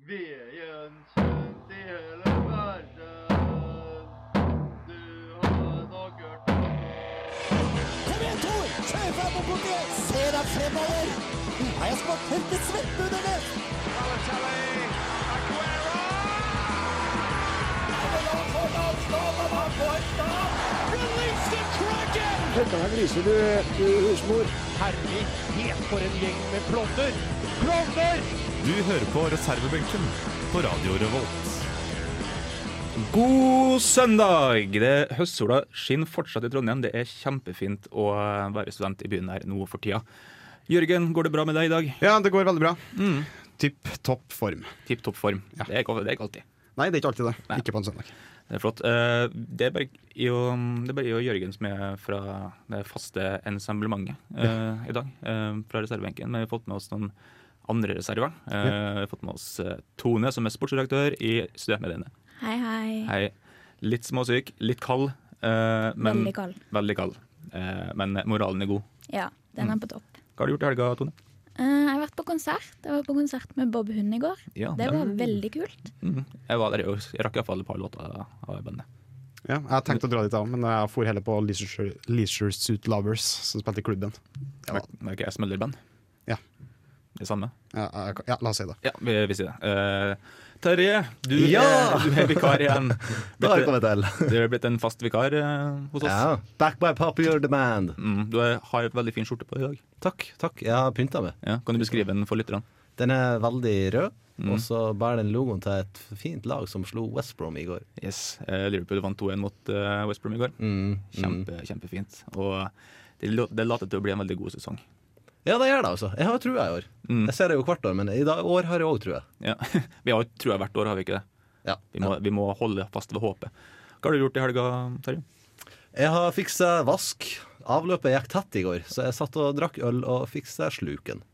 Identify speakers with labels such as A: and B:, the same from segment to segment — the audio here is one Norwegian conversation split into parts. A: Ved gjenkjent i hele verden. Du har nok hørt om
B: Kom igjen, Tor! Kjør fram mot politiet! Se deg fremover! Du har jo smakt helt til svettbudene!
C: Du hører på reservebenken på Radio Revolt.
D: God søndag! Det Høstsola skinner fortsatt i Trondheim. Det er kjempefint å eh, være student i byen her nå for tida. Jørgen, går det bra med deg i dag?
C: Ja, det går veldig bra. Tipp topp form.
D: Tipp topp form. Det, er, ikke- det er ikke alltid.
C: Nei, det er ikke alltid det.
D: Nei.
C: Ikke på en søndag.
D: Det er flott. Eh, Det er bare jo, det er bare jo Jørgen som er fra det faste ensemblementet eh, i dag. eh, Fra reservebenken. Men vi har fått med oss noen andre reserver. Eh, Vi har fått med oss eh, Tone, som er sportsredaktør i Studentmediene.
E: Hei, hei.
D: Hei. Litt småsyk, litt kald. eh, men,
E: Veldig kald.
D: Veldig kald. Eh, men moralen er god.
E: Ja, den er på topp.
D: Hva har du gjort i helga, Tone?
E: Eh, jeg har vært på konsert. Jeg var på konsert med Bob Hund i går.
D: Ja,
E: Det var veldig kult.
D: Mm. Jeg var der jo, jeg rakk iallfall et par låter av bandet.
C: Ja, jeg tenkte å dra dit, jeg òg, men jeg for heller på Leisure, Leisure Suit Lovers, som spilte i klubben. Ja,
D: Merk- Merker jeg smøllerband?
C: Ja.
D: Det samme?
C: ja, jeg- ja la oss si det.
D: Ja, vi, vi sier det. Eh, Terje, du,
F: Ja!
D: er, du er vikar igjen.
F: Det har jeg kommet til.
D: Du er blitt en fast vikar eh, hos oss.
F: Ja. Back by popular demand.
D: Mm, du er, har en veldig fin skjorte på i dag.
F: Takk. takk, Jeg har pynta meg.
D: Ja, kan du beskrive den for lytterne?
F: Den er veldig rød, og så bærer den logoen til et fint lag som slo West Brom i går.
D: Yes. eh, Liverpool vant 2-1 mot eh, West Brom i går.
F: Mm,
D: Kjempe, Kjempefint. Og det, lå- det later til å bli en veldig god sesong.
F: Ja, det gjør det, altså. Jeg har jo trua i år. Jeg ser det jo hvert år, men i dag, år har jeg òg trua.
D: Ja. Vi har jo trua hvert år, har vi ikke det?
F: Ja.
D: Vi må, vi må holde fast ved håpet. Hva har du gjort i helga, Terje?
F: Jeg har fiksa vask. Avløpet gikk tett i går, så jeg satt og drakk øl og fiksa sluken.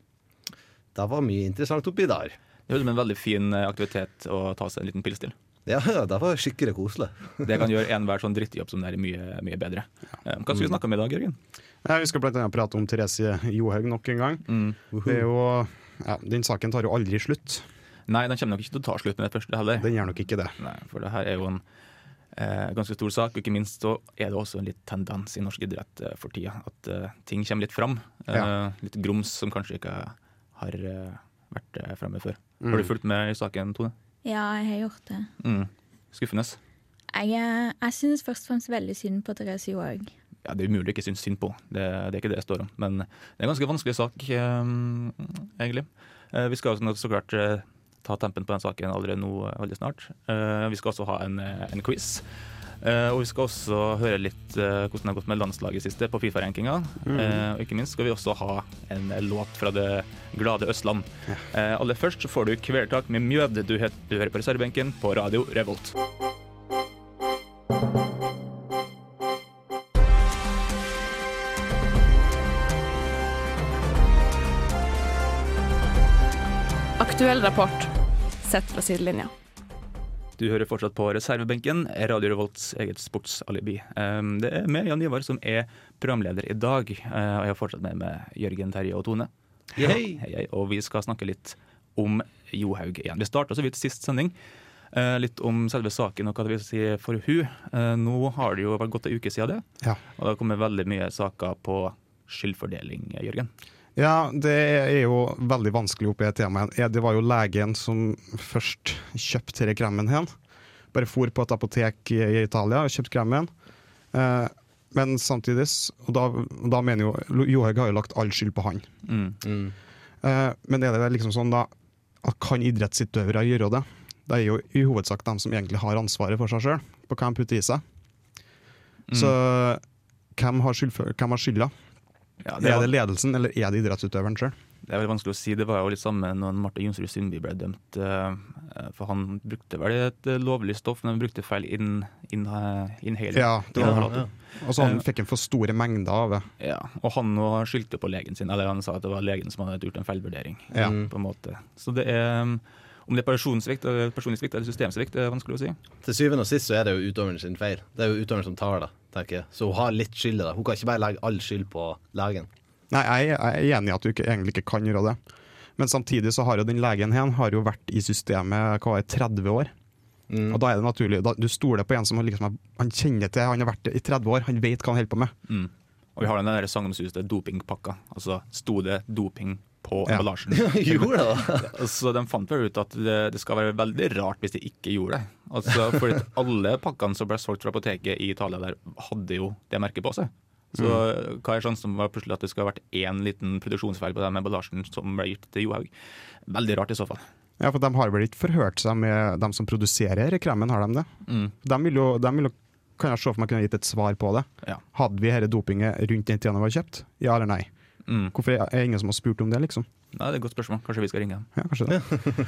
F: Det var mye interessant oppi der.
D: Det høres ut som en veldig fin eh, aktivitet å ta seg en liten pils til.
F: Ja, det var skikkelig koselig.
D: Det kan gjøre enhver sånn drittjobb som det her mye, mye bedre. Eh, Hva skal vi snakke om i dag, Jørgen?
C: Jeg husker blant annet prate om Therese Johaug nok en gang. Det er jo, ja, den saken tar jo aldri slutt.
D: Nei, den kommer nok ikke til å ta slutt med det første heller.
C: Den gjør nok ikke det.
D: Nei, for det her er jo en eh, ganske stor sak, og ikke minst så er det også en litt tendens i norsk idrett eh, for tida. At eh, ting kommer litt fram. Eh,
C: Ja.
D: Litt grums som kanskje ikke har eh, vært eh, fremme før. Har du fulgt med i saken, Tone?
E: Ja, jeg har gjort det.
D: Mm. Skuffende.
E: Jeg, eh, jeg syns først og fremst veldig synd på Therese Johaug.
D: Ja, det er umulig å ikke synes synd på. Det, det er ikke det det står om. Men det er en ganske vanskelig sak, eh, egentlig. Eh, vi skal også nå så klart eh, ta tempen på den saken allerede nå, eh, veldig snart. Eh, vi skal også ha en, eh, en quiz. Eh, og vi skal også høre litt eh, hvordan det har gått med landslaget siste på Fifa-rankinga. Eh, og ikke minst skal vi også ha en eh, låt fra det glade Østland. Eh, aller først så får du Kvelertak med Mjød. Du, het, du hører på reservebenken på Radio Revolt.
G: Aktuell rapport sett fra sidelinja.
D: Du hører fortsatt på reservebenken, Radio Revolts eget sportsalibi. Ehm, Det er meg, Jan Ivar, som er programleder i dag. eh, Og jeg har fortsatt med meg Jørgen, Terje og Tone.
F: Yay.
D: Hei, hei. Og vi skal snakke litt om Johaug igjen. Vi starta så vidt sist sending. eh, Litt om selve saken og hva det vil si for hun. Eh, Nå har det jo vært gått ei uke siden det,
C: Ja.
D: og det har kommet veldig mye saker på skyldfordeling, Jørgen.
C: Ja, det er jo veldig vanskelig oppi et tema. Ja, Det var jo legen som først kjøpte denne kremen her. Bare for på et apotek i i Italia og kjøpte kremen. Eh, men samtidig, s- og da, og da mener jo Johaug har jo lagt all skyld på han.
D: Mm.
C: Eh, men er det liksom sånn da at kan idrettsutøvere gjøre det? Det er jo i hovedsak dem som egentlig har ansvaret for seg sjøl, på hva de putter i seg. Mm. Så hvem har, skyldfø- hvem har skylda?
D: Ja,
C: Er
D: var-
C: det ledelsen, eller er det idrettsutøveren sjøl?
D: Det er veldig vanskelig å si. Det var jo litt samme når Marte Jonsrud Sundby ble dømt. eh, For han brukte vel et eh, lovlig stoff, men han brukte feil inn, inn, eh, inhaler.
C: Ja, det var Eh.
D: Inhalator.
C: Og så han fikk en for store mengder av det.
D: Ja, Og han nå skyldte på legen sin, eller han sa at det var legen som hadde gjort en feilvurdering.
C: Ja.
D: på en måte. Så det er mm, om det er personsvikt, eller personlig svikt eller systemsvikt, det er vanskelig å si.
F: Til syvende og sist så er det jo utøveren sin feil. Det er jo utøveren som tar det, tenker jeg. Så hun har litt skyld i det. Hun kan ikke bare legge all skyld på legen.
C: Nei, jeg, jeg er enig i at du ikke, egentlig ikke kan gjøre det. Men samtidig så har jo den legen her har jo vært i systemet hva var det, 30 år. Og da er det naturlig, da, Du stoler på en som liksom, har- han kjenner til, han har vært det i 30 år, han vet hva han holder på med.
D: Mm. Og vi har den der sagnomsuste dopingpakka. Altså sto det doping på
C: Ja.
D: emballasjen?
F: Gjorde det, da?
D: Så Altså, de fant vel ut at det, det skal være veldig rart hvis de ikke gjorde det. Altså, fordi at alle pakkene som ble solgt fra apoteket i Italia der, hadde jo det merket på seg. Så hva er sjansen for plutselig at det skal ha vært én liten produksjonsfeil på den emballasjen som ble gitt til Johaug? Veldig rart i så fall.
C: Ja, for De har vel ikke forhørt seg med dem som produserer kremen, har de det?
D: Mm.
C: De vil jo, de vil jo kan jeg se for meg kunne gitt et svar på det.
D: Ja.
C: Hadde vi dette dopinget rundt den tida det var kjøpt? Ja eller nei?
D: Mm.
C: Hvorfor er det ingen som har spurt om det, liksom?
D: Nei, det er et godt spørsmål. Kanskje vi skal ringe dem.
C: Ja, kanskje det.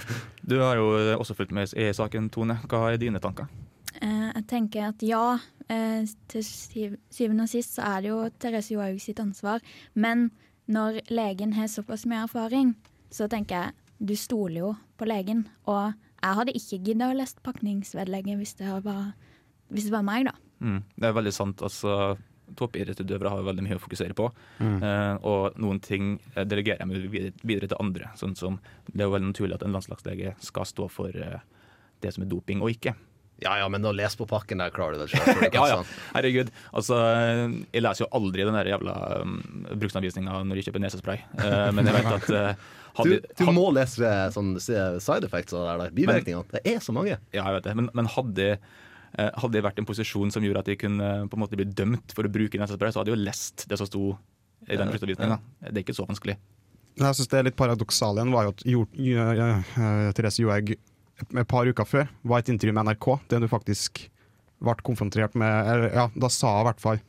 D: Du har jo også fulgt med i saken, Tone. Hva er dine tanker?
E: Eh, jeg tenker at ja, eh, til syv, syvende og sist så er det jo Therese Johaug sitt ansvar. Men når legen har såpass mye erfaring, så tenker jeg du stoler jo på legen. Og jeg hadde ikke gidda å lese pakningsvedlegget hvis det var, hvis det var meg, da.
D: Mm, det er veldig sant. altså Toppidrettsutøvere har veldig mye å fokusere på.
F: Mm.
D: Eh, og noen ting eh, delegerer de videre, videre til andre. sånn som Det er jo veldig naturlig at en landslagslege skal stå for eh, det som er doping og ikke.
F: Ja ja, men å lese på pakken der klarer du det sjøl.
D: Ja, ja, herregud. Altså, jeg leser jo aldri den der jævla um, bruksanvisninga når jeg kjøper nesespray. Eh, men jeg vet at eh,
F: Du,
D: hadde,
F: du må lese eh, sånn se side effects og det der, da. bivirkningene. Det er så mange.
D: Ja, jeg vet det. Men, men hadde, eh, hadde jeg vært i en posisjon som gjorde at jeg kunne eh, på en måte bli dømt for å bruke nesespray, så hadde jeg jo lest det som sto i den bruksanvisninga. Det er ikke så vanskelig.
C: Men Jeg synes det er litt paradoksalen var jo at Jor- Jo- Jo- eh, Therese Johaug et par uker før var i et intervju med NRK, det du faktisk ble konfrontert med eller, ja, Da sa hun i hvert fall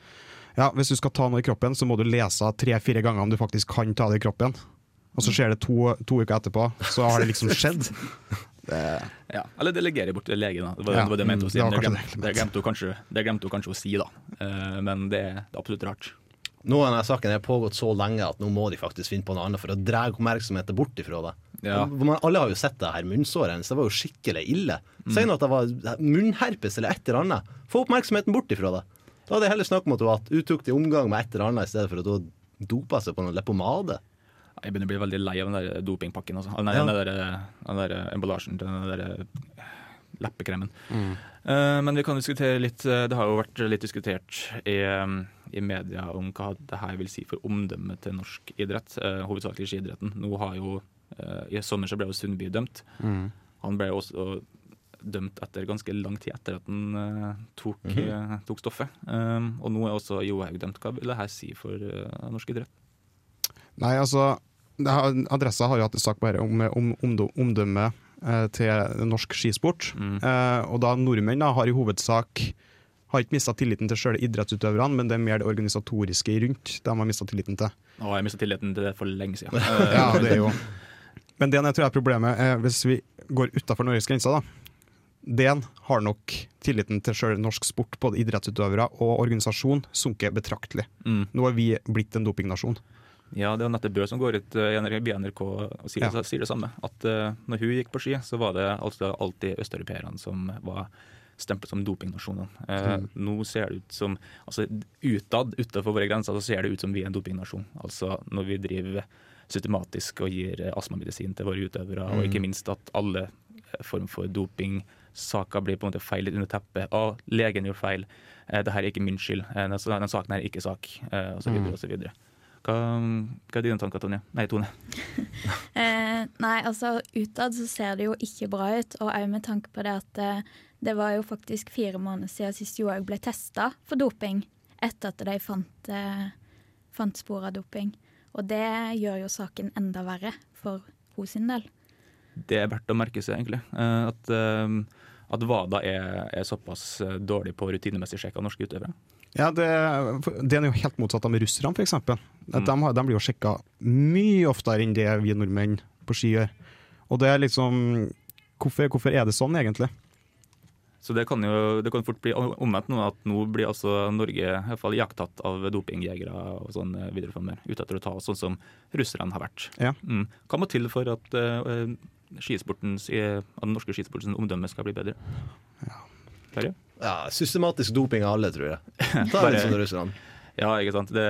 C: ja, hvis du skal ta noe i kroppen, så må du lese tre-fire ganger om du faktisk kan ta det i kroppen. Og så skjer det to, to uker etterpå, så har det liksom skjedd.
D: Ja, Eller delegere bort til legen, da. Det var,
C: Ja,
D: det, var det jeg mente å si.
C: Mm, det var
D: Det
C: kanskje
D: glemte,
C: det
D: det
C: jeg
D: glemte hun kanskje, det glemte hun kanskje å si, da. Eh, men det, er- det er absolutt rart.
F: Nå har denne saken her pågått så lenge at nå må de faktisk finne på noe annet for å dra oppmerksomheten bort ifra det.
D: Ja.
F: Men alle har jo sett det her munnsåret hennes. Det var jo skikkelig ille. Si nå at det var munnherpes eller et eller annet. Få oppmerksomheten bort ifra det. Da hadde jeg heller snakk om at hun hatt utukt i omgang med et eller annet, i stedet for at hun dopa seg på noen leppepomade.
D: Jeg begynner å bli veldig lei av den der dopingpakken. Altså. Nei,
F: Ja.
D: den, der, den der eh, emballasjen til den der eh, leppekremen. Eh, men vi kan diskutere litt eh, Det har jo vært litt diskutert i, eh, i media om hva det her vil si for omdømmet til norsk idrett, eh, hovedsakelig skiidretten. Nå har jo eh, I sommer så ble jo Sundby dømt. Han ble jo også eh, dømt etter ganske lang tid etter at han eh, tok, eh, tok stoffet. Eh, og nå er også Johaug dømt. Hva vil det her si for eh, norsk idrett?
C: Nei, altså det har, Adressa har jo hatt en sak bare om, om, omdø- omdømme eh, til norsk skisport. Eh, og da nordmenn da, har i hovedsak har ikke mista tilliten til sjøle idrettsutøverne, men det er mer det organisatoriske rundt de har mista tilliten til.
D: Å, jeg mista tilliten til det for lenge siden.
C: Ja, det er jo. Men det jeg tror er problemet, eh, hvis vi går utafor Norges grenser, da. DN har nok tilliten til sjøl norsk sport, både idrettsutøvere og organisasjon, sunket betraktelig.
D: Mm.
C: Nå er vi blitt en dopingnasjon.
D: Ja, det er Nette Bø som går ut eh, i NRK BNRK og sier,
C: Ja.
D: sier det samme. At eh, når hun gikk på ski, så var det altså alltid østeuropeerne som var stemplet som dopingnasjoner. Eh, Nå ser det ut som altså Utad, utenfor våre grenser, så ser det ut som vi er en dopingnasjon. Altså når vi driver systematisk og gir eh, astmamedisin til våre utøvere, og ikke minst at alle eh, form for doping Saker blir på en måte feil litt under teppet. Å, legen gjorde feil. Eh, det her er ikke min skyld. Eh, den, den saken her er ikke sak. Eh, og så videre, og så videre. Hva, hva er dine tanker, Tonje? Nei, Tone.
E: Eh, nei, altså utad så ser det jo ikke bra ut, og òg med tanke på det at eh, det var jo faktisk fire måneder siden sist Johaug ble testa for doping, etter at de fant, eh, fant spor av doping. Og det gjør jo saken enda verre for hun sin del.
D: Det er verdt å merke seg, egentlig. eh, At, eh, at WADA er, er såpass eh, dårlig på rutinemessig sjekk av norske utøvere.
C: Ja, det, det er jo helt motsatt av med russerne, f.eks. Mm. De, har- de blir jo sjekka mye oftere enn det vi nordmenn på ski gjør. Og det er liksom Hvorfor, hvorfor er det sånn, egentlig?
D: Så det kan jo det kan fort bli omvendt nå, at nå blir altså Norge i hvert fall iakttatt av dopingjegere og sånn eh, videre framover. Ute etter å ta oss sånn som russerne har vært.
C: Ja.
D: Mm. Hva må til for at eh, skisportens, eh, at den norske skisportens omdømme skal bli bedre? Terje?
F: Ja, systematisk doping av alle, tror jeg. Ta
D: Bare-
F: en sånn russerne.
D: Ja, ikke sant. Det,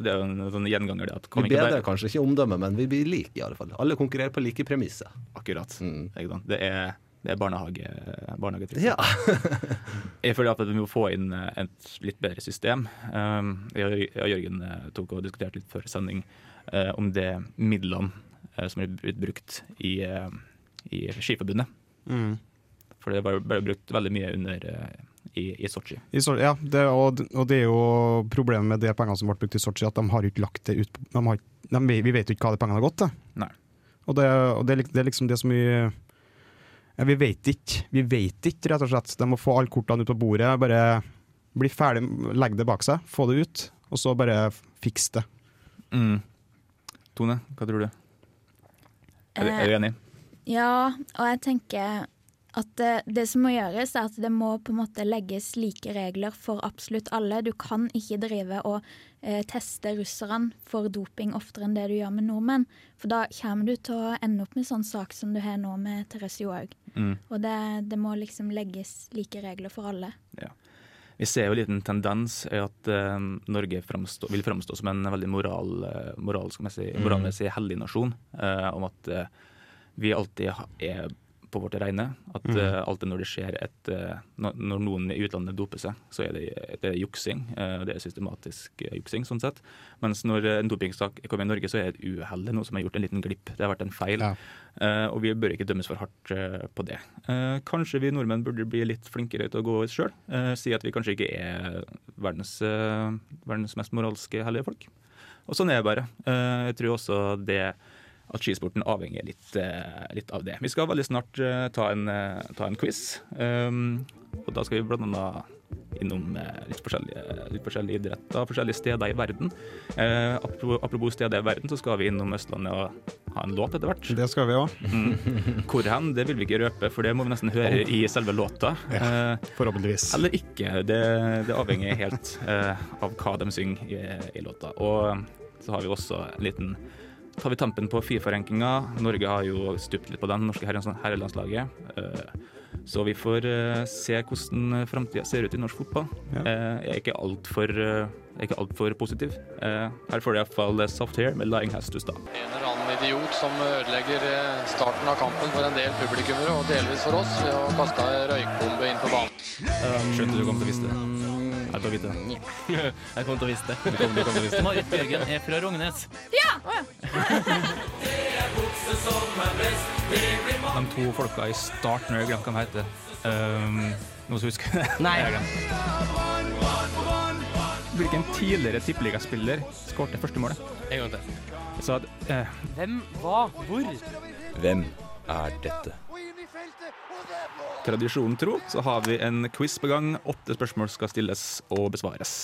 D: det er jo en sånn gjenganger, det. At kom
F: Vi
D: ikke
F: bedrer
D: der.
F: kanskje ikke omdømmet, men vi blir like, i alle fall. Alle konkurrerer på like premisser.
D: Akkurat.
F: Mm.
D: Ikke sant? Det er, det er barnehage, barnehagetriks.
F: Ja.
D: Jeg føler at vi må få inn eh, et litt bedre system. Um, Jeg og jeg og Jørgen eh, tok og diskuterte litt før sending eh, om det midlene eh, som er blitt brukt i, eh, i Skiforbundet.
C: Mm.
D: For det ble ble brukt veldig mye under eh, i, i Sotsji.
C: I Sotsji- ja, det, og, og det er jo problemet med de pengene som ble brukt i Sotsji, at de har jo ikke lagt det ut de har, de, Vi vet jo ikke hva de pengene har gått til.
D: Nei.
C: Og det, og det, er lik- det er liksom det som vi ja, Vi vet ikke. Vi vet ikke, rett og slett. De må få alle kortene ut på bordet. Bare bli ferdig, legge det bak seg, få det ut, og så bare fiks det.
D: Mm. Tone, hva tror du? Er, du- er du enig?
E: Ja, og jeg tenker at det, det som må gjøres, er at det må på en måte legges like regler for absolutt alle. Du kan ikke drive og eh, teste russerne for doping oftere enn det du gjør med nordmenn. For da kommer du til å ende opp med sånn sak som du har nå med Therese Johaug.
D: Mm.
E: Og det, det må liksom legges like regler for alle.
D: Vi ser jo en liten tendens i at eh, Norge framstå, vil framstå som en veldig moral, eh, moralsk messig- moralmessig hellig nasjon. eh, om at eh, vi alltid ha- er på vårt rene. At eh, alltid når det skjer et eh, når- Når noen i utlandet doper seg, så er det, det er juksing. eh, det er systematisk eh, juksing, sånn sett. Mens når eh, en dopingsak kommer i Norge, så er det et uhell. det er Noe som har gjort en liten glipp. Det har vært en feil.
C: Ja.
D: Eh, og vi bør ikke dømmes for hardt eh, på det. Eh, kanskje vi nordmenn burde bli litt flinkere til å gå oss sjøl. si at vi kanskje ikke er verdens, eh, verdens mest moralske hellige folk. Og sånn er det bare. Eh, jeg tror også det at skisporten avhenger litt, eh, litt av det. Vi skal veldig snart eh, ta, en, eh, ta en quiz, um, og da skal vi blant annet innom eh, litt forskjellige, litt forskjellige idretter, forskjellige steder i verden. Eh, apropos, apropos steder i verden, så skal vi innom Østlandet og ha en låt etter hvert.
C: Det skal vi òg,
D: Hvor hen, det vil vi ikke røpe, for det må vi nesten høre i selve låta. Eh,
C: forhåpentligvis.
D: eller ikke. Det, det avhenger helt eh, av hva de synger i, i låta. Og så har vi også en liten Tar vi tampen på Fifa-rankinga. Norge har jo stupt litt på den, norske herrens- herrelandslaget. Eh, så vi får eh, se hvordan framtida ser ut i norsk fotball.
C: Ja.
D: Eh, jeg er ikke altfor uh, ikke alt for positiv. Eh, her får du iallfall Soft Hair med Lying Has To Stop.
H: En eller annen idiot som ødelegger eh, starten av kampen for en del publikummere, og delvis for oss, ved å kaste ei røykbombe inn på banen.
I: Um,
D: Skjønte du kom til å vise det.
I: mm,
D: Jeg kom til å vite det. Jeg kom til å vise det.
I: Marit Bjørgen er fra Rognes.
D: De to folka i starten, jeg glemte hva de heter. Um, noen som husker det?
I: Nei.
D: Jeg har glemt. Hvilken tidligere tippeligaspiller skårte første målet?
I: En gang til.
D: Jeg sa at eh,
I: Hvem, hva, hvor?
J: Hvem er dette?
D: tradisjonen tro så har vi en quiz på gang. Åtte spørsmål skal stilles og besvares.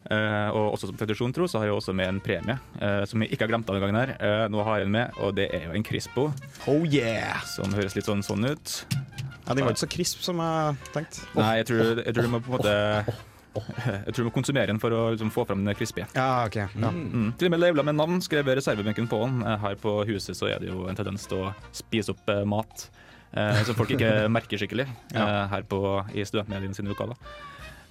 D: Eh, og også som tradisjonen tro så har jeg også med en premie, eh, som jeg ikke har glemt denne gangen her. Eh, nå har jeg den med, og det er jo en Crispo,
C: Oh yeah!
D: som høres litt sånn sånn ut.
C: Ja, den var ikke så krisp som jeg tenkte.
D: Nei, jeg tror, jeg tror du må på en måte
C: Oh,
D: Jeg tror du må konsumere den for å liksom, få fram den krispige.
C: Ja, ok. Ja.
D: Mm. Til og med labela med navn skrev jeg reservebenken på den. Eh, Her på huset så er det jo en tendens til å spise opp eh, mat eh, som folk ikke merker skikkelig eh, her på, i studentmediene sine lokaler.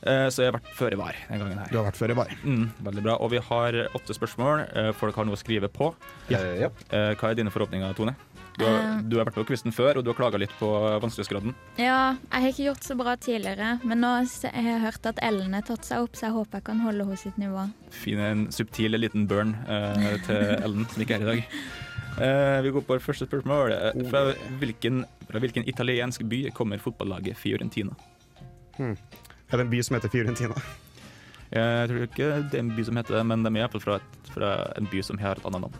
D: Eh, så jeg har vært føre var den gangen her.
C: Du har vært før i bar.
D: Mm, veldig bra. Og vi har åtte spørsmål. Eh, folk har noe å skrive på.
F: Eh, ja.
D: Eh, hva er dine forhåpninger, Tone? Du har,
E: Eh.
D: du har vært på quizen før, og du har klaga litt på eh, vanskelighetsgraden.
E: Ja, jeg har ikke gjort så bra tidligere, men nå s- jeg har jeg hørt at Ellen har tatt seg opp, så jeg håper jeg kan holde henne sitt nivå.
D: fin en subtil liten burn eh, til Ellen, som ikke er i dag. Eh, vi går på første spørsmål. Eh, Fra hvilken, fra hvilken italiensk by kommer fotballaget Fiorentina?
C: Er det en by som heter Fiorentina?
D: Eh, Jeg tror ikke det er en by som heter det, men de er iallfall fra, et- fra en by som har et annet navn.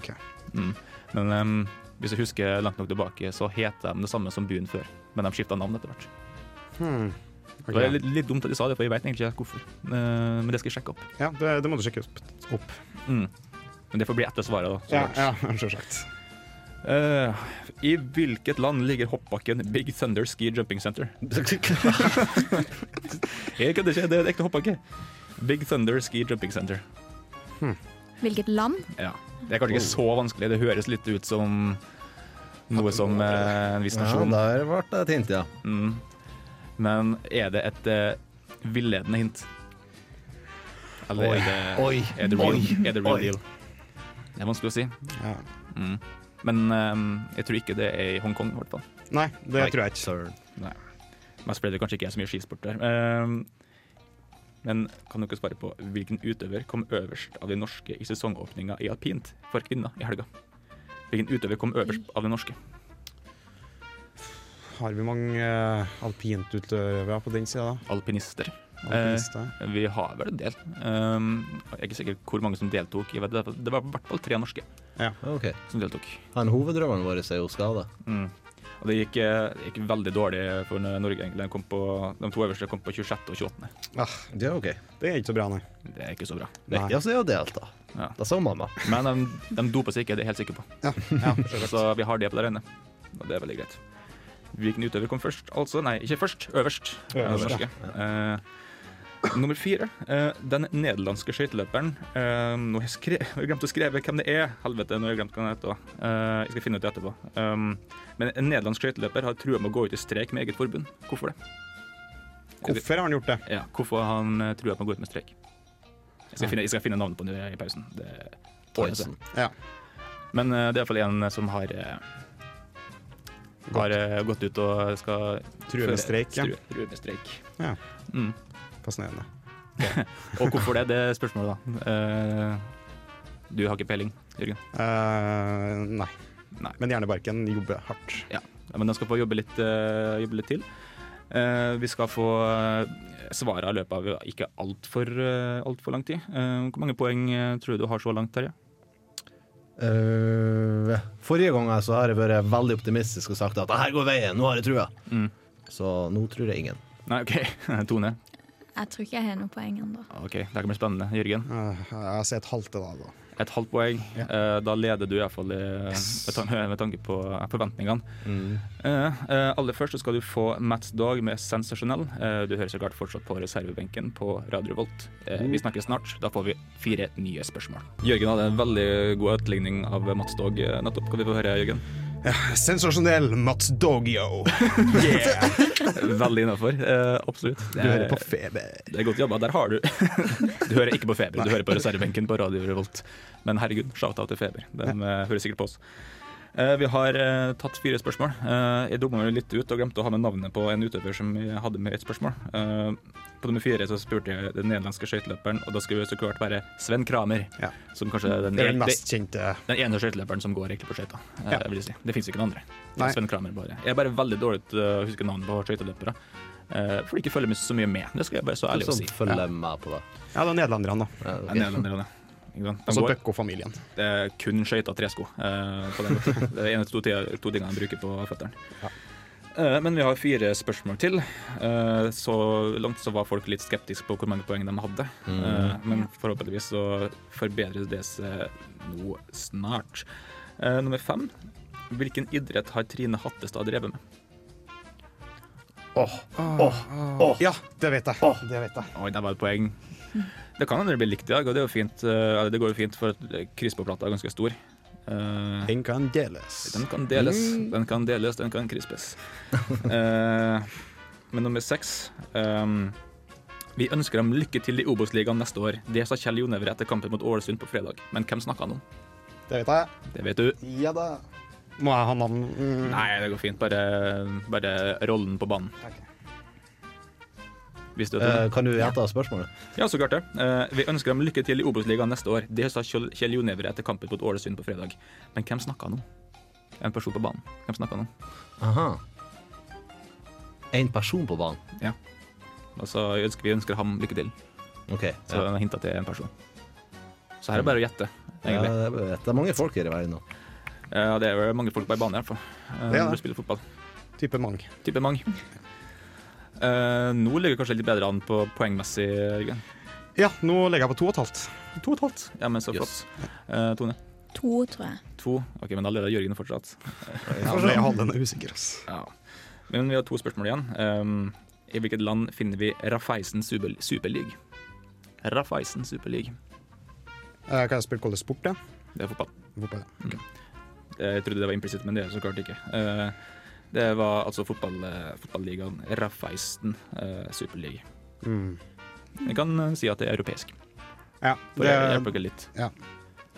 C: Ok.
D: Mm. Men em, hvis jeg husker langt nok tilbake, så het de det samme som byen før, men de skifta navn etter hvert.
C: Hmm.
D: Det var
C: Ok.
D: litt, litt dumt at de sa det, for jeg veit egentlig ikke hvorfor. Eh, men det skal jeg sjekke opp.
C: Ja, det, det må du sjekke opp. opp.
D: Mm. Men det får bli etter svaret. da, så klart.
C: ja selvsagt.
D: Eh, I hvilket land ligger hoppbakken Big Thunder Ski Jumping Center? Jeg kødder ikke, det er en ekte hoppbakke. Big Thunder Ski Jumping Center.
E: Hvilket land?
D: Ja. Det er kanskje ikke så vanskelig, det høres litt ut som noe som eh, en viss
F: Ja,
D: nasjon.
F: der ble det et hint, ja.
D: Mm. Men er det et eh, villedende hint? Eller er det,
F: Oi,
D: er det real,
F: oi,
D: er det real
F: oi.
D: deal? Det er vanskelig å si.
C: Ja.
D: Mm. Men eh, jeg tror ikke det er i Hongkong, i hvert fall.
C: Nei, det tror jeg ikke.
F: Søren.
D: Mest fordi det kanskje ikke er så mye skisport der. Eh, men kan dere svare på hvilken utøver kom øverst av de norske i sesongåpninga i alpint for kvinner i helga? Hvilken utøver kom øverst av de norske?
C: Har vi mange eh, alpintutøvere på den sida?
D: Alpinister.
C: Alpinister?
D: Eh, vi har vel en del. Eh, jeg er ikke sikker hvor mange som deltok. Jeg vet, det var- det var i hvert fall tre norske
F: Ok.
D: som deltok.
F: Han hovedrøveren vår er jo skada.
D: Mm. Og det gikk, eh, det gikk veldig dårlig for Norge, egentlig. De, kom på, de to øverste kom på 26. og 28.
C: Ah,
F: Ja, ok.
C: det er ikke så bra, nei.
D: Det er ikke så bra.
C: Nei.
F: Viktigst er å delta.
D: Ja.
F: Da sa man da.
D: Men de, de doper seg ikke, det er jeg helt sikker på.
C: Ja, ja, selvsagt.
D: Så vi har det på det rene. Og det er veldig greit. Hvilken utøver kom først? Altså, nei, ikke først, øverst.
C: Øverst,
D: Øverst, nummer fire. eh, den nederlandske skøyteløperen eh, Nå har jeg, skre jeg glemt å skrive hvem det er. Helvete, nå har jeg glemt hva han heter. også. Eh, jeg skal finne ut det etterpå. Um, men en nederlandsk skøyteløper har trua med å gå ut i streik med eget forbund. Hvorfor det?
C: Hvorfor har han gjort det?
D: Ja, hvorfor har han eh, trua med å gå ut med streik? Jeg skal finne, jeg skal finne navnet på det i pausen. Det tar jeg seg.
C: Ja.
D: Men eh, det er iallfall en som har eh, Har eh, gått ut og skal
C: True med streik, ja.
D: True, true med streik.
C: Ja.
D: Mm.
C: Fascinerende.
D: Og hvorfor det? Det er spørsmålet, da. Eh, du har ikke peiling, Jørgen.
C: Eh, nei.
D: Nei.
C: Men Hjernebarken jobber hardt.
D: Ja, Men de skal få jobbe litt, eh, jobbe litt til. Eh, vi skal få eh, svaret i løpet av ikke altfor uh, alt for lang tid. Eh, hvor mange poeng eh, tror du du har så langt, Terje?
F: Eh, forrige gang så har jeg vært veldig optimistisk og sagt at her går veien, nå har jeg trua.
D: Mm.
F: Så nå tror jeg ingen.
D: Nei, OK. Tone.
E: Jeg tror ikke jeg har noe poeng ennå.
D: Ok, Det kan bli spennende. Jørgen?
C: Eh, jeg sier et halvt til deg, da.
D: Et halvt poeng. Eh, da leder du iallfall med, tan med tanke på forventningene.
F: Mm.
D: Eh, eh, aller først så skal du få Mats Dag med 'Sensasjonell'. Eh, du hører så klart fortsatt på reservebenken på Radio Revolt. Eh, vi snakkes snart. Da får vi fire nye spørsmål. Jørgen hadde en veldig god utligning av Mats Dag eh, nettopp. Kan vi få høre, Jørgen?
C: Sensasjonell Mats Dogio.
D: Veldig innafor. Eh, absolutt.
C: Du hører på feber.
D: Det er godt jobba. Der har du Du hører ikke på Feber, du hører på reservebenken på Radio Revolt. Men herregud, shout-out til Feber. De eh, hører sikkert på oss. Eh, Vi har eh, tatt fire spørsmål. Eh, Jeg dumma meg litt ut og glemte å ha med navnet på en utøver som jeg hadde med i et spørsmål. Eh, På nummer fire så spurte jeg den nederlandske skøyteløperen, og da skulle det så klart være Sven Kramer.
C: Ja.
D: Som kanskje er den,
C: Det er den
D: det-
C: mest kjente.
D: den ene skøyteløperen som går egentlig på skøyta. eh,
C: Ja.
D: vil jeg si. Det fins ikke noen andre. Det
C: Nei.
D: er Sven Kramer bare. Jeg er bare veldig dårlig til å huske navn på skøyteløpere. eh, Fordi jeg ikke følger med så mye med. Det sånn skal jeg bare så ærlig å
F: Så
D: si.
F: sånn følger jeg med på det.
C: Ja, det er nederlenderne, da.
F: Ja, ok.
D: Ja, Nederlenderne. Ikke sant? De
C: Altså
D: går
C: Bøkko-familien.
D: eh, kun skøyter tresko. eh, på den måten. Det er en av de to, tida- to tingene de bruker på føttene. Eh, men vi har fire spørsmål til. Eh, så langt så var folk litt skeptiske på hvor mange poeng de hadde.
F: Mm.
D: Eh, men forhåpentligvis så forbedres det seg nå snart. Eh, nummer fem. Hvilken idrett har Trine Hattestad drevet med?
C: Ja, det vet jeg. Det vet jeg.
D: Oi, der var et poeng. Det kan hende det blir likt i dag, og det, er jo fint, eh, eller det går jo fint, for at kryssbåtplata er ganske stor. Eh,
C: Den kan deles.
D: Den kan deles, den kan deles, den kan krispes. Eh, men nummer seks ehm, Vi ønsker dem lykke til i Obos-ligaen neste år. Det sa Kjell Jonever etter kampen mot Ålesund på fredag. Men hvem snakka han om?
C: Det vet jeg.
D: Det vet du.
C: Ja da. Må jeg ha navn? Mm.
D: Nei, det går fint. Bare, bare rollen på banen. Visste du det?
F: Eh, kan du gjenta spørsmålet?
D: Ja, så klart det. Eh, vi ønsker dem lykke til i Obos-ligaen neste år. Det sa Kjell Kjell Jonever etter kampen mot Ålesund på fredag. Men hvem snakka han om? En person på banen. Hvem snakka han om?
F: Aha. En person på banen?
D: Altså, vi ønsker, vi ønsker ham lykke til.
F: OK.
D: Så
F: Ja.
D: den hinta til en person. Så her er det bare å gjette, egentlig.
F: Ja, det er- Eh, det er mange folk i verden nå.
D: Ja, det er vel mange folk på ei bane, i hvert fall. eh,
C: Det er
D: Når
C: det.
D: du spiller fotball.
C: Type Mang.
D: Type mange. Eh, nå ligger vi kanskje litt bedre an på poengmessig, Jørgen.
C: Ja, nå legger jeg på to og et halvt.
D: To og et halvt. Ja, men så flott.
F: Yes.
D: Eh, Tone,
E: To, tror jeg.
D: to. Ok, men da leder Jørgen fortsatt.
C: Ja, men jeg holder den usikker, ass.
D: Ja. Men vi har to spørsmål igjen. Um, I hvilket land finner vi Raffeisen Super Superleague? Raffeisen Superleague.
C: Eh, Kan jeg spørre hvordan sport er?
D: Det er fotball.
C: Fotball.
D: Eh, Jeg trodde det var implisitt, men det er det så klart ikke. Eh, Det var altså fotball, eh, fotballigaen Raffeisten eh, Superliga.
C: Mm.
D: Jeg kan eh, si at det er europeisk.
C: Ja,
D: For
C: det,
D: å hjelpe dere litt.
F: Ja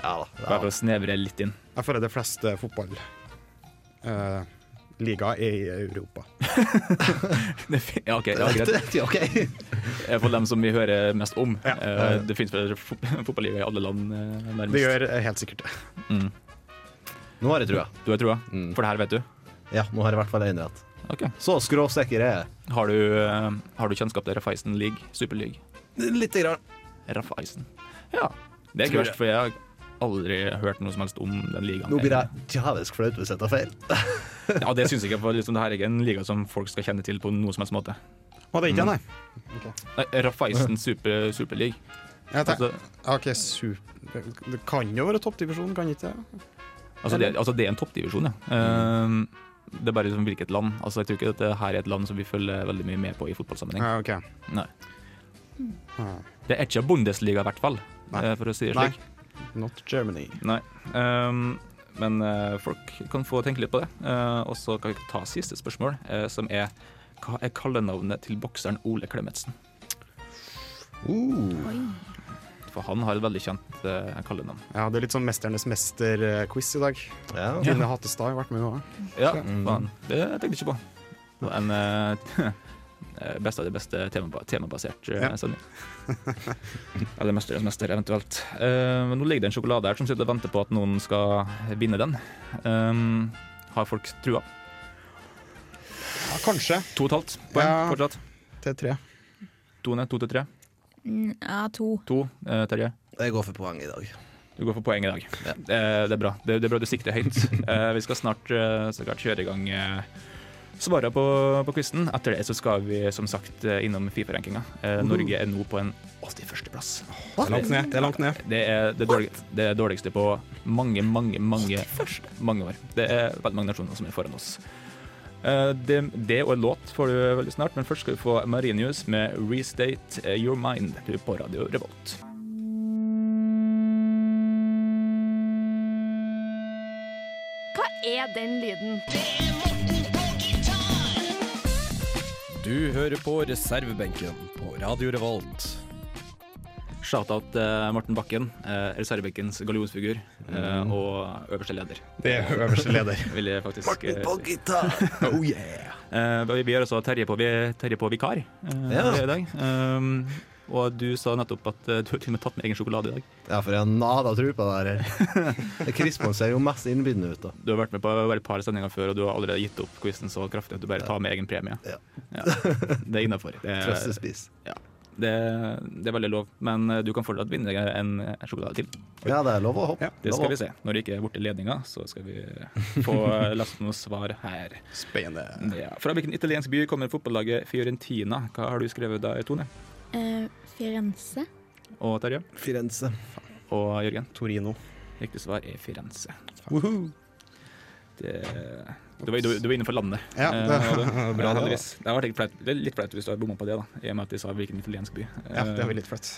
F: da.
D: Bare for å snevre litt inn.
C: jeg føler de fleste fotballigaer er i Europa.
D: Det fin- ja, ok, ja,
F: Det
D: greit.
F: er riktig, ok.
D: Eh, For dem som vi hører mest om.
C: Ja.
D: Eh, Det finnes vel fot- fotballiga i alle land, eh, nærmest.
C: Det gjør eh, helt sikkert det.
D: Mm.
F: Nå har jeg trua.
D: Du har trua?
F: Mm.
D: For det her vet du?
F: Ja, nå har jeg i hvert fall én rett.
D: Ok.
F: Så skråsikker er jeg.
D: Har du, eh, har du kjennskap til Raffaisen League? Superleague?
F: Lite grann.
D: Raffaisen. Ja. Det er ikke
F: Tror jeg.
D: verst, for jeg har aldri hørt noe som helst om den ligaen.
F: Nå blir jeg djevelsk flaut hvis jeg tar feil.
D: Ja, det syns jeg ikke. For liksom, det her er ikke en liga som folk skal kjenne til på noen som helst måte.
C: Å, det er ikke
D: Mm.
C: jeg, nei.
D: Nei, Raffaisen super, Superleague.
C: Jeg tenker,
D: Altså,
C: ok, super. Det kan jo være toppdivisjon, kan ikke det?
D: altså, det, altså, det er en toppdivisjon, ja.
C: Mm.
D: Ehm, det er bare liksom hvilket land. Altså, jeg tror ikke dette her er et land som vi følger veldig mye med på i fotballsammenheng.
C: Ja, ok.
D: Nei.
C: Ah,
D: Det er ikke Bundesliga, i hvert fall,
C: Nei.
D: eh, for å si det
C: Nei.
D: slik.
C: Not Germany.
D: Nei. Ehm, men eh, folk kan få tenke litt på det. Eh, og så kan vi ta siste spørsmål, eh, som er hva er kallenavnet til bokseren Ole Klemetsen?
F: Uh.
D: For han har et veldig kjent eh, kallenavn.
C: Ja, det er litt sånn Mesternes mester-quiz i dag.
F: Ja.
C: Tine Hattestad har vært med nå.
D: Ja,
C: ja. Mm-hmm.
D: faen. Det tenkte jeg ikke på. Det var en eh, beste av de beste temaba temabasert eh,
C: Ja.
D: sending. Eller Mesternes mester, eventuelt. Eh, men nå ligger det en sjokolade her som sitter og venter på at noen skal vinne den. Eh, har folk trua?
C: Ja, kanskje
D: To og et halvt poeng
C: Ja.
D: fortsatt.
C: til tre.
D: To ned, to til tre.
E: Mm, Ja, to.
D: To, eh, Terje.
F: Jeg går for poeng i dag.
D: Du går for poeng i dag. Eh, det er bra. Det, det er bra du sikter høyt. Eh, vi skal snart eh, så klart kjøre i gang eh, svarene på, på quizen. Etter det så skal vi som sagt eh, innom Fifa-rankinga. Eh, Norge er nå på en 81.-plass.
C: Det er langt ned. Det er langt ned.
D: Det er det, dårlig, det er dårligste på mange, mange, mange, mange år. Det er veldig mange nasjoner som er foran oss. Eh, Det, det og en låt får du veldig snart, men først skal du få Marinius med 'Restate Your Mind' du på Radio Revolt.
G: Hva er den lyden?
J: Du hører på reservebenken på Radio Revolt.
D: Shoutout eh, Morten Bakken, eh, reservebekkens gallionsfigur eh,
F: Mm.
D: og øverste leder,
C: Det er øverste leder.
D: vil jeg faktisk eh, si.
F: gitar! Oh yeah!
D: Eh, vi- vi har også Terje på, vi- terje på vikar eh,
F: Ja.
D: i dag. Um, og du sa nettopp at eh, du har til og med tatt med egen sjokolade i dag.
F: Ja, for jeg har nada tru på det her. Det Krispon ser jo mest innbydende ut, da.
D: Du har vært med på bare et par sendinger før, og du har allerede gitt opp quizen så kraftig at du bare tar med egen premie.
F: Ja.
D: Ja. Det er innafor. Det, er-
F: Trøstespis.
D: det, det er veldig lov. Men eh, du kan fortsatt vinne en eh, sjokolade til.
F: Ja, det er lov å hoppe.
C: Ja,
D: Det
F: Lov å
D: skal vi se. Når det ikke er borte ledninga, så skal vi få lest noen svar her.
C: Spennende.
D: Ja. Fra hvilken italiensk by kommer fotballaget Fiorentina? Hva har du skrevet der, Tone?
E: Eh, Firenze.
D: Og Terje?
F: hoppe. Firenze.
D: Og Jørgen?
C: Torino.
D: Riktig svar er Firenze.
C: Woohoo.
D: Det, du, var, du, du var innenfor landet.
C: Ja,
D: Eh,
C: det
D: og
C: var bra, det,
D: heldigvis. Det, har vært litt flaut, det er litt flaut hvis du har bomma på det, da, i og med at de sa hvilken italiensk by.
C: Ja, det
D: Eh,
C: var litt flaut.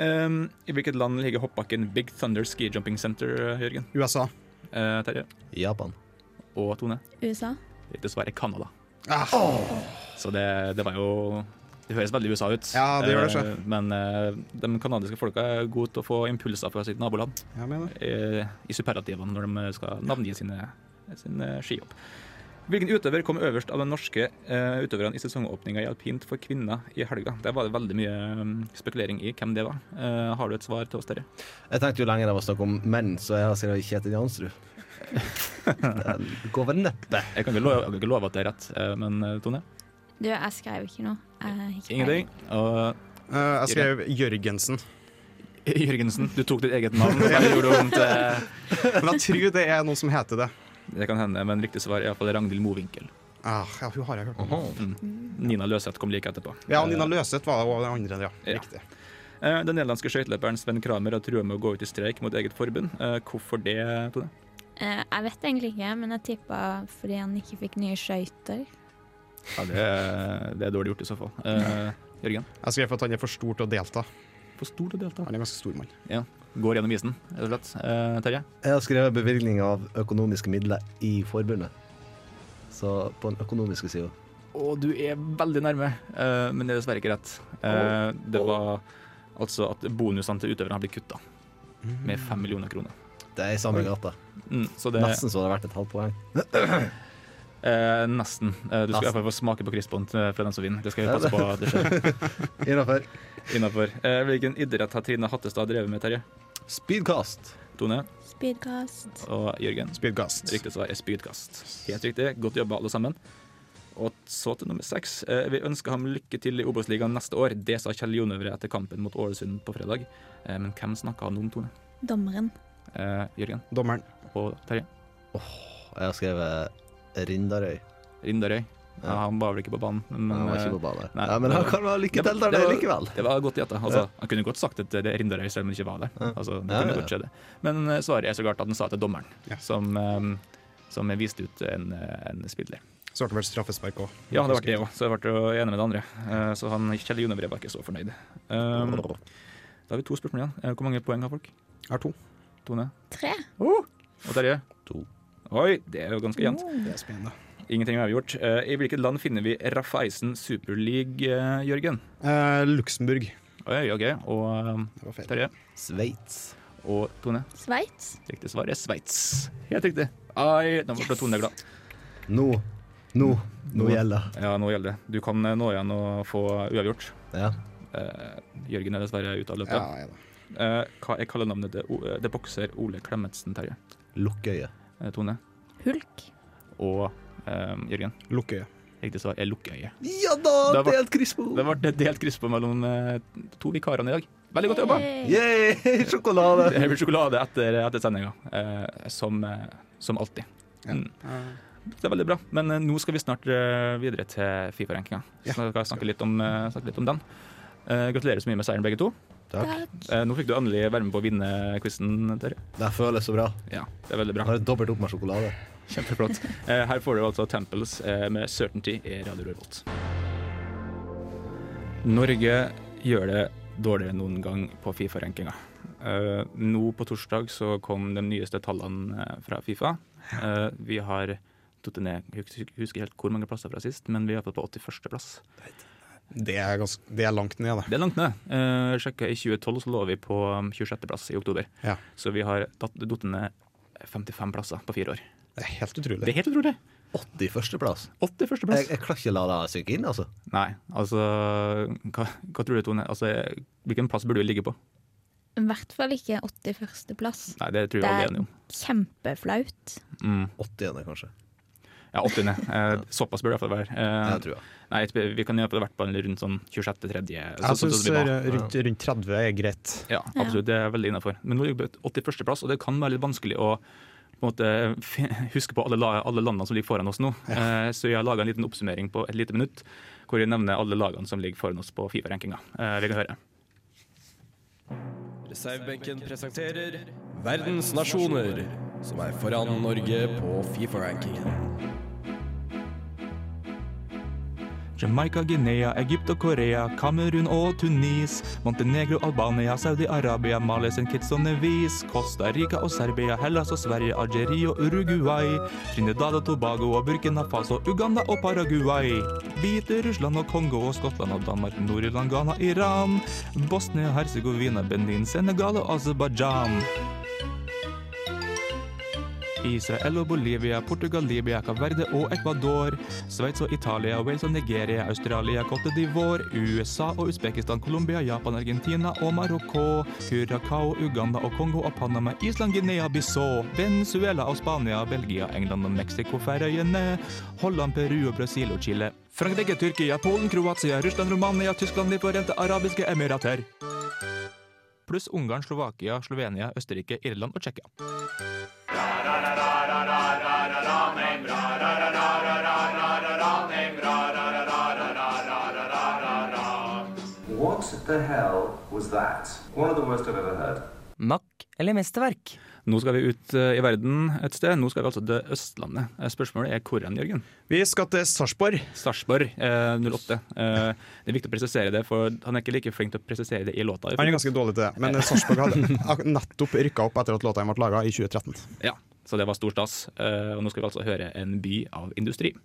D: Um, I hvilket land ligger hoppbakken Big Thunder Ski Jumping Center, Jørgen?
C: USA.
D: Eh, Terje?
F: Japan.
D: Og Tone?
E: USA.
D: Dessverre Canada.
C: Ah.
D: Så det, det var jo Det høres veldig USA ut.
C: Ja, det gjør det,
D: Eh, men eh, de canadiske folka er gode til å få impulser fra sitt naboland
C: Jeg mener.
D: eh, i superlativene når de skal navngi sine, sine skihopp. Hvilken utøver kom øverst av de norske eh, utøverne i sesongåpninga i alpint for kvinner i helga? Der var det veldig mye mm, spekulering i hvem det var. Eh, har du et svar til oss, Terje?
F: Jeg tenkte jo lenger det var snakk om menn, så jeg har skrevet Kjetil Jansrud. Det går vel neppe.
D: Jeg kan ikke love, jeg kan ikke love at det er rett, eh, men eh, Tone?
E: Du, jeg skrev ikke noe. Jeg har ikke
D: Ingenting. Og eh,
C: Eh, jeg skrev Jørgensen.
D: Jørgensen, du tok ditt eget navn. og bare gjorde det om til...
C: Men jeg tror det er noen som heter det.
D: Det kan hende, men riktig svar er iallfall Ragnhild Mowinckel.
C: Ah, ja, hun har jeg hørt om.
D: Nina Løseth kom like etterpå.
C: Ja, og Nina Løseth var også den andre. Ja.
D: Ja.
C: Riktig.
D: Eh, Den nederlandske skøyteløperen Sven Kramer har trua med å gå ut i streik mot eget forbund. Eh, Hvorfor det, Tone?
E: Eh, jeg vet egentlig ikke, men jeg tippa fordi han ikke fikk nye skøyter.
D: Ja, det, er- det er dårlig gjort i så fall. Eh, Jørgen?
C: Jeg skrev for at han er for stor til å delta.
D: For stor til å delta.
C: Han er en ganske stor mann.
D: Ja. Går gjennom isen, rett og slett. Eh, Terje?
F: Jeg har skrevet bevilgning av økonomiske midler i forbundet. Så på den økonomiske sida.
D: Å, du er veldig nærme, eh, men det er dessverre ikke rett. Eh, det var Altså at bonusene til utøverne har blitt kutta med fem millioner kroner.
F: Det er i samme gata.
D: Mm, så det
F: Nesten så det har vært et halvt poeng.
D: Eh, nesten. Eh, du skal i hvert fall få smake på krispånd eh, fra den som vinner. Det skal vi passe på at det skjer
F: Innafor.
D: innafor. Eh, hvilken idrett har Trine Hattestad drevet med, Terje?
F: Speedcast.
D: Tone
E: Speedcast.
D: og Jørgen?
C: Speedcast.
D: Riktig svar er spydkast. Helt riktig. Godt jobba, alle sammen. Og så til nummer seks. Eh, Vi ønsker ham lykke til i Obos-ligaen neste år. Det sa Kjell Jonøvre etter kampen mot Ålesund på fredag. Eh, Men hvem snakka han om, Tone?
E: Dommeren.
D: Eh, Jørgen
C: Dommeren.
D: og Terje?
F: Jeg har skrevet Rindarøy.
D: Rindarøy. Ja, han var vel ikke på banen, men
F: Han var
D: eh,
F: ikke på banen.
D: nei.
F: Ja, men han kan være lykke til der
D: det
F: det
D: var-
F: likevel.
D: Det var godt gjetta. Altså, han kunne godt sagt at det er Rindarøy, selv om han ikke var der. Altså, det
F: Ja,
D: kunne
F: ja,
D: godt skje det. Men eh, svaret er så klart at han sa det til dommeren,
C: Ja.
D: som, eh, som viste ut en, eh, en spiller.
C: Så ble det vel straffespark òg.
D: Ja, det ble det òg, så jeg ble jo enig med det andre. Eh, Så han Kjell Jonevre var ikke så fornøyd. Um, Da har vi to spørsmål igjen. Eh, Hvor mange poeng har folk?
C: Er to.
D: Tone
E: Tre.
D: og Terje?
F: To.
D: Oi, det er jo ganske jevnt.
C: Oh, Det er spennende.
D: Ingenting er avgjort. Eh, I hvilket land finner vi Raffaisen Super League, eh, Jørgen?
C: Eh, Luxembourg.
D: Oi, OK. Og um,
C: Det var feil.
D: Terje?
F: Sveits.
D: Og Tone?
E: Sveits.
D: Riktig svar er Sveits. Helt riktig. Ai, nå ble Tone glad.
F: Nå. Nå.
D: Nå.
F: Nå gjelder det.
D: Ja, nå gjelder det. Du kan eh, nå igjen og få uavgjort.
F: Ja.
D: Eh, Jørgen er dessverre ute av løpet.
C: Ja, ja da.
D: Eh, hva er kallenavnet til O- eh, til bokser Ole Klemetsen, Terje?
F: Lukkøye.
D: Eh, Tone
E: Hulk.
D: og eh, Jørgen.
C: Lukkøye.
D: Riktig svar er Lukkøye.
F: Ja da!
D: Det var-
F: Delt krispo.
D: Det ble et delt kryss på mellom eh, to vikarene i dag. Veldig godt jobba!
E: Yay.
F: Yeah! Sjokolade.
D: Det blir sjokolade etter, etter sendinga, eh, som, eh, som alltid. Mm. Det er veldig bra. Men eh, nå skal vi snart eh, videre til Fifa-rankinga.
C: Ja.
D: Så skal jeg snakke litt om, eh, snakke litt om den. Eh, gratulerer så mye med seieren, begge to.
E: Takk.
D: Eh, nå fikk du endelig være med på å vinne quizen, Terje.
F: Det føles så bra.
D: Ja, det er veldig
F: Nå
D: bra.
F: har jeg dobbelt opp med sjokolade.
D: Kjempeflott. Eh, her får du altså Temples eh, med Certainty i Radio Revolt. Norge gjør det dårligere enn noen gang på Fifa-rankinga. Eh, nå på torsdag så kom de nyeste tallene eh, fra Fifa. Eh, vi har tatt det ned, jeg husker- husker helt hvor mange plasser fra sist, men vi er på 81. plass.
C: Det er, ganske, det er langt ned, det.
D: Det er langt ned. Eh, sjekket i 2012 så lå vi på um, 26. plass i oktober.
C: Ja.
D: Så vi har tatt- datt ned 55 plasser på fire år.
C: Det er helt
D: Det
C: utrolig.
D: er helt utrolig.
F: 81. plass.
D: 81.
F: Jeg,
D: plass.
F: jeg klarer ikke la det synke inn, altså.
D: Nei, altså hva, hva tror du, Tone? Altså, hvilken plass burde vi ligge på?
E: I hvert fall ikke 81. plass.
D: Nei, det tror
E: Det
D: jeg alle
E: er
D: er enige om.
E: kjempeflaut.
D: Mm.
F: 80. kanskje.
D: Ja, 80. Eh, såpass burde det iallfall være.
F: Jeg
D: Eh,
F: tror jeg.
D: nei, vi kan iallfall vært på en rundt sånn 26.-3.
C: Jeg syns rundt, rundt 30 er greit.
D: Ja, absolutt. Det er veldig innafor. Men nå ligger vi på 81. plass, og det kan være litt vanskelig å på en måte, fin- huske på alle, la- alle landene som ligger foran oss nå. Eh, så jeg har laga en liten oppsummering på et lite minutt, hvor jeg nevner alle lagene som ligger foran oss på Fifa-rankinga. Eh, vi kan høre.
J: Reservebenken presenterer Verdens nasjoner, som er foran Norge på Fifa-rankingen.
D: Jamaica, Guinea, Egypt og Korea, Kamerun og Tunis, Montenegro, Albania, Saudi-Arabia, Mali sin vis, Costa Rica og Serbia, Hellas og Sverige, Algerie og Uruguay, Trinidad og Tobago og Burkina Faso, Uganda og Paraguay, Hviterussland og Kongo og Skottland og Danmark, Nord-Irland, Ghana, Iran, Bosnia, Herzegovina, Benin, Senegal og Aserbajdsjan. Israel og Bolivia, Portugal, Libya, Caverde og Ecuador, Sveits og Italia, Wales og Nigeria, Australia, Cote d'Ivoire, USA og Usbekistan, Colombia, Japan, Argentina og Marokko, Curacao, Uganda og Kongo og Panama, Island, Guinea-Bissau, Venezuela og Spania, Belgia, England og Mexico, Færøyene, Holland, Peru og Brasil og Chile, Frankrike, Tyrkia, Polen, Kroatia, Russland, Romania, Tyskland, De forente arabiske emirater. Pluss Ungarn, Slovakia, Slovenia, Østerrike, Irland og Tsjekkia.
I: Makk eller mesterverk?
D: Nå skal vi ut eh, i verden et sted. Nå skal vi altså til Østlandet. Eh, Spørsmålet er hvor hen, Jørgen?
C: Vi skal til Sarpsborg.
D: Sarpsborg eh, 08. Eh, det er viktig å presisere det, for han er ikke like flink til å presisere det i låta.
C: Han er ganske dårlig til det, men Sarpsborg hadde ak- nettopp rykka opp etter at låta ble laga i 2013.
D: Ja, så det var stor stas. Eh, og nå skal vi altså høre en by av industri.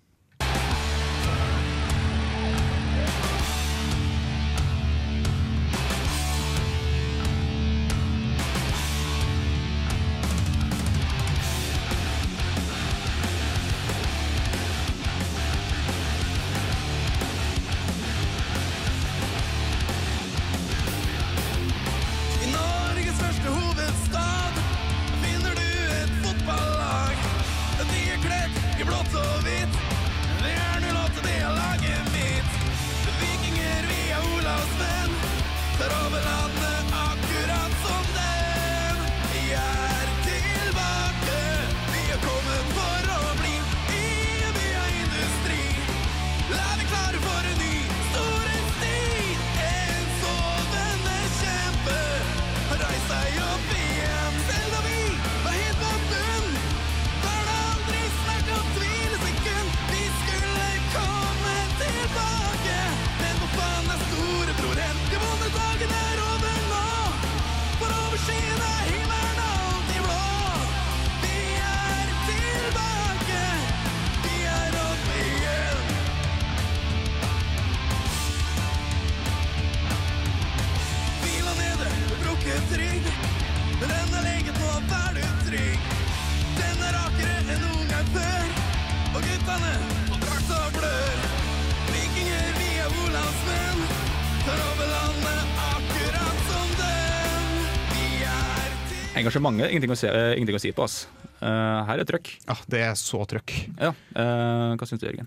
D: Engasjementet er ingenting å si, eh, ingenting å si på. ass. Eh, her er trøkk.
C: Ja, Ah, det er så trøkk.
D: Ja. eh, hva syns du, Jørgen?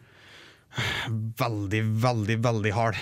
C: Veldig, veldig, veldig hard.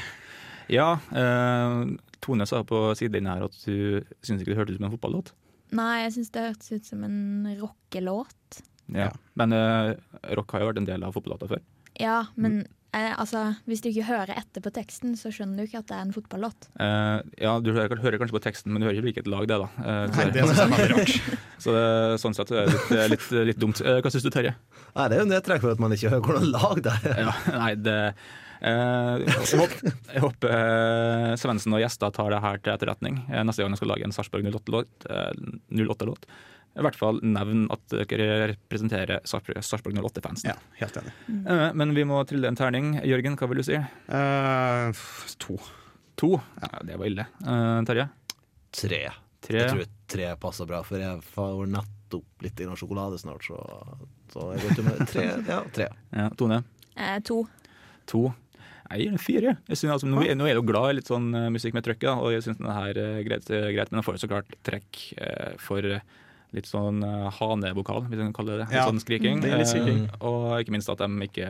D: Ja, eh, Tone sa på siden her at du syns ikke det hørtes ut som en fotballåt.
E: Nei, jeg syns det hørtes ut som en rockelåt.
D: Ja. Men eh, rock har jo vært en del av fotballåta før.
E: Ja,
D: Mm.
E: men eh, altså, hvis du ikke hører etter på teksten, så skjønner du ikke at det er en fotballåt.
D: Eh, ja, Du hører, hører kanskje på teksten, men du hører ikke hvilket lag det er. da. Eh,
C: Nei, det synes jeg er veldig rart.
D: Så det, sånn sett er det litt, litt, litt dumt. Eh, Hva syns du, Terje?
F: Nei, det er jo nedtrekk for at man ikke hører hvordan lag det er.
D: Ja, nei, det eh, Jeg håper, jeg håper eh, Svendsen og gjester tar det her til etterretning eh, neste gang jeg skal lage en Sarpsborg 08-låt. eh, 08-låt. I hvert fall nevn at dere representerer Sarpsborg Sarpsborg 08-fansen.
C: Ja, helt enig.
D: Eh, Men vi må trille en terning. Jørgen, hva vil du si?
C: Eh, f- to.
D: To? Ja, det var ille. Eh, Terje?
F: Tre.
D: Tre?
F: Jeg tror tre passer bra, for jeg får nettopp litt grann sjokolade snart, så, så jeg går til med tre. Ja, tre.
D: Ja, Tone?
E: Eh, to.
D: To? Jeg gir den fire. Jeg synes, altså, nå, er- nå er jeg jo glad i litt sånn eh, musikk med trøkket, da, og jeg syns den her er greit, eh, greit, men den får jo så klart trekk eh, for eh, litt sånn eh, hanevokal, hvis en kan kalle det det. Litt
C: Ja,
D: sånn skriking.
C: det er litt
D: eh,
C: skriking.
D: og ikke minst at de ikke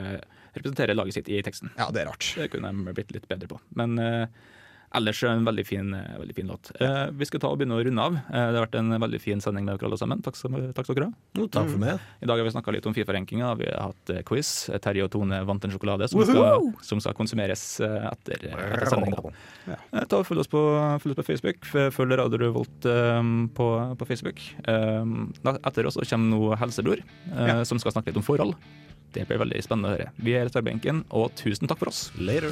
D: representerer laget sitt i teksten.
C: Ja, det er rart.
D: Det kunne de blitt litt bedre på. Men eh, ellers en veldig fin, eh, veldig fin låt. Eh, vi skal ta og begynne å runde av. Eh, det har vært en veldig fin sending med dere alle sammen. Takk, som, takk skal dere ha.
F: Jo, takk for meg.
D: I dag har vi snakka litt om Fifa-rankinga. Vi har hatt eh, quiz. Terje og Tone vant en sjokolade som skal, som skal konsumeres eh, etter, etter sendinga. Eh, Ta og Følg oss på, følg oss på Facebook. F- Følg Radio Revolt eh, på, på Facebook. Um, da- Etter oss så kommer nå Helsebror, eh, som skal snakke litt om forhold. Det blir veldig spennende å høre. Vi er Retarbenken, og tusen takk for oss.
F: Later.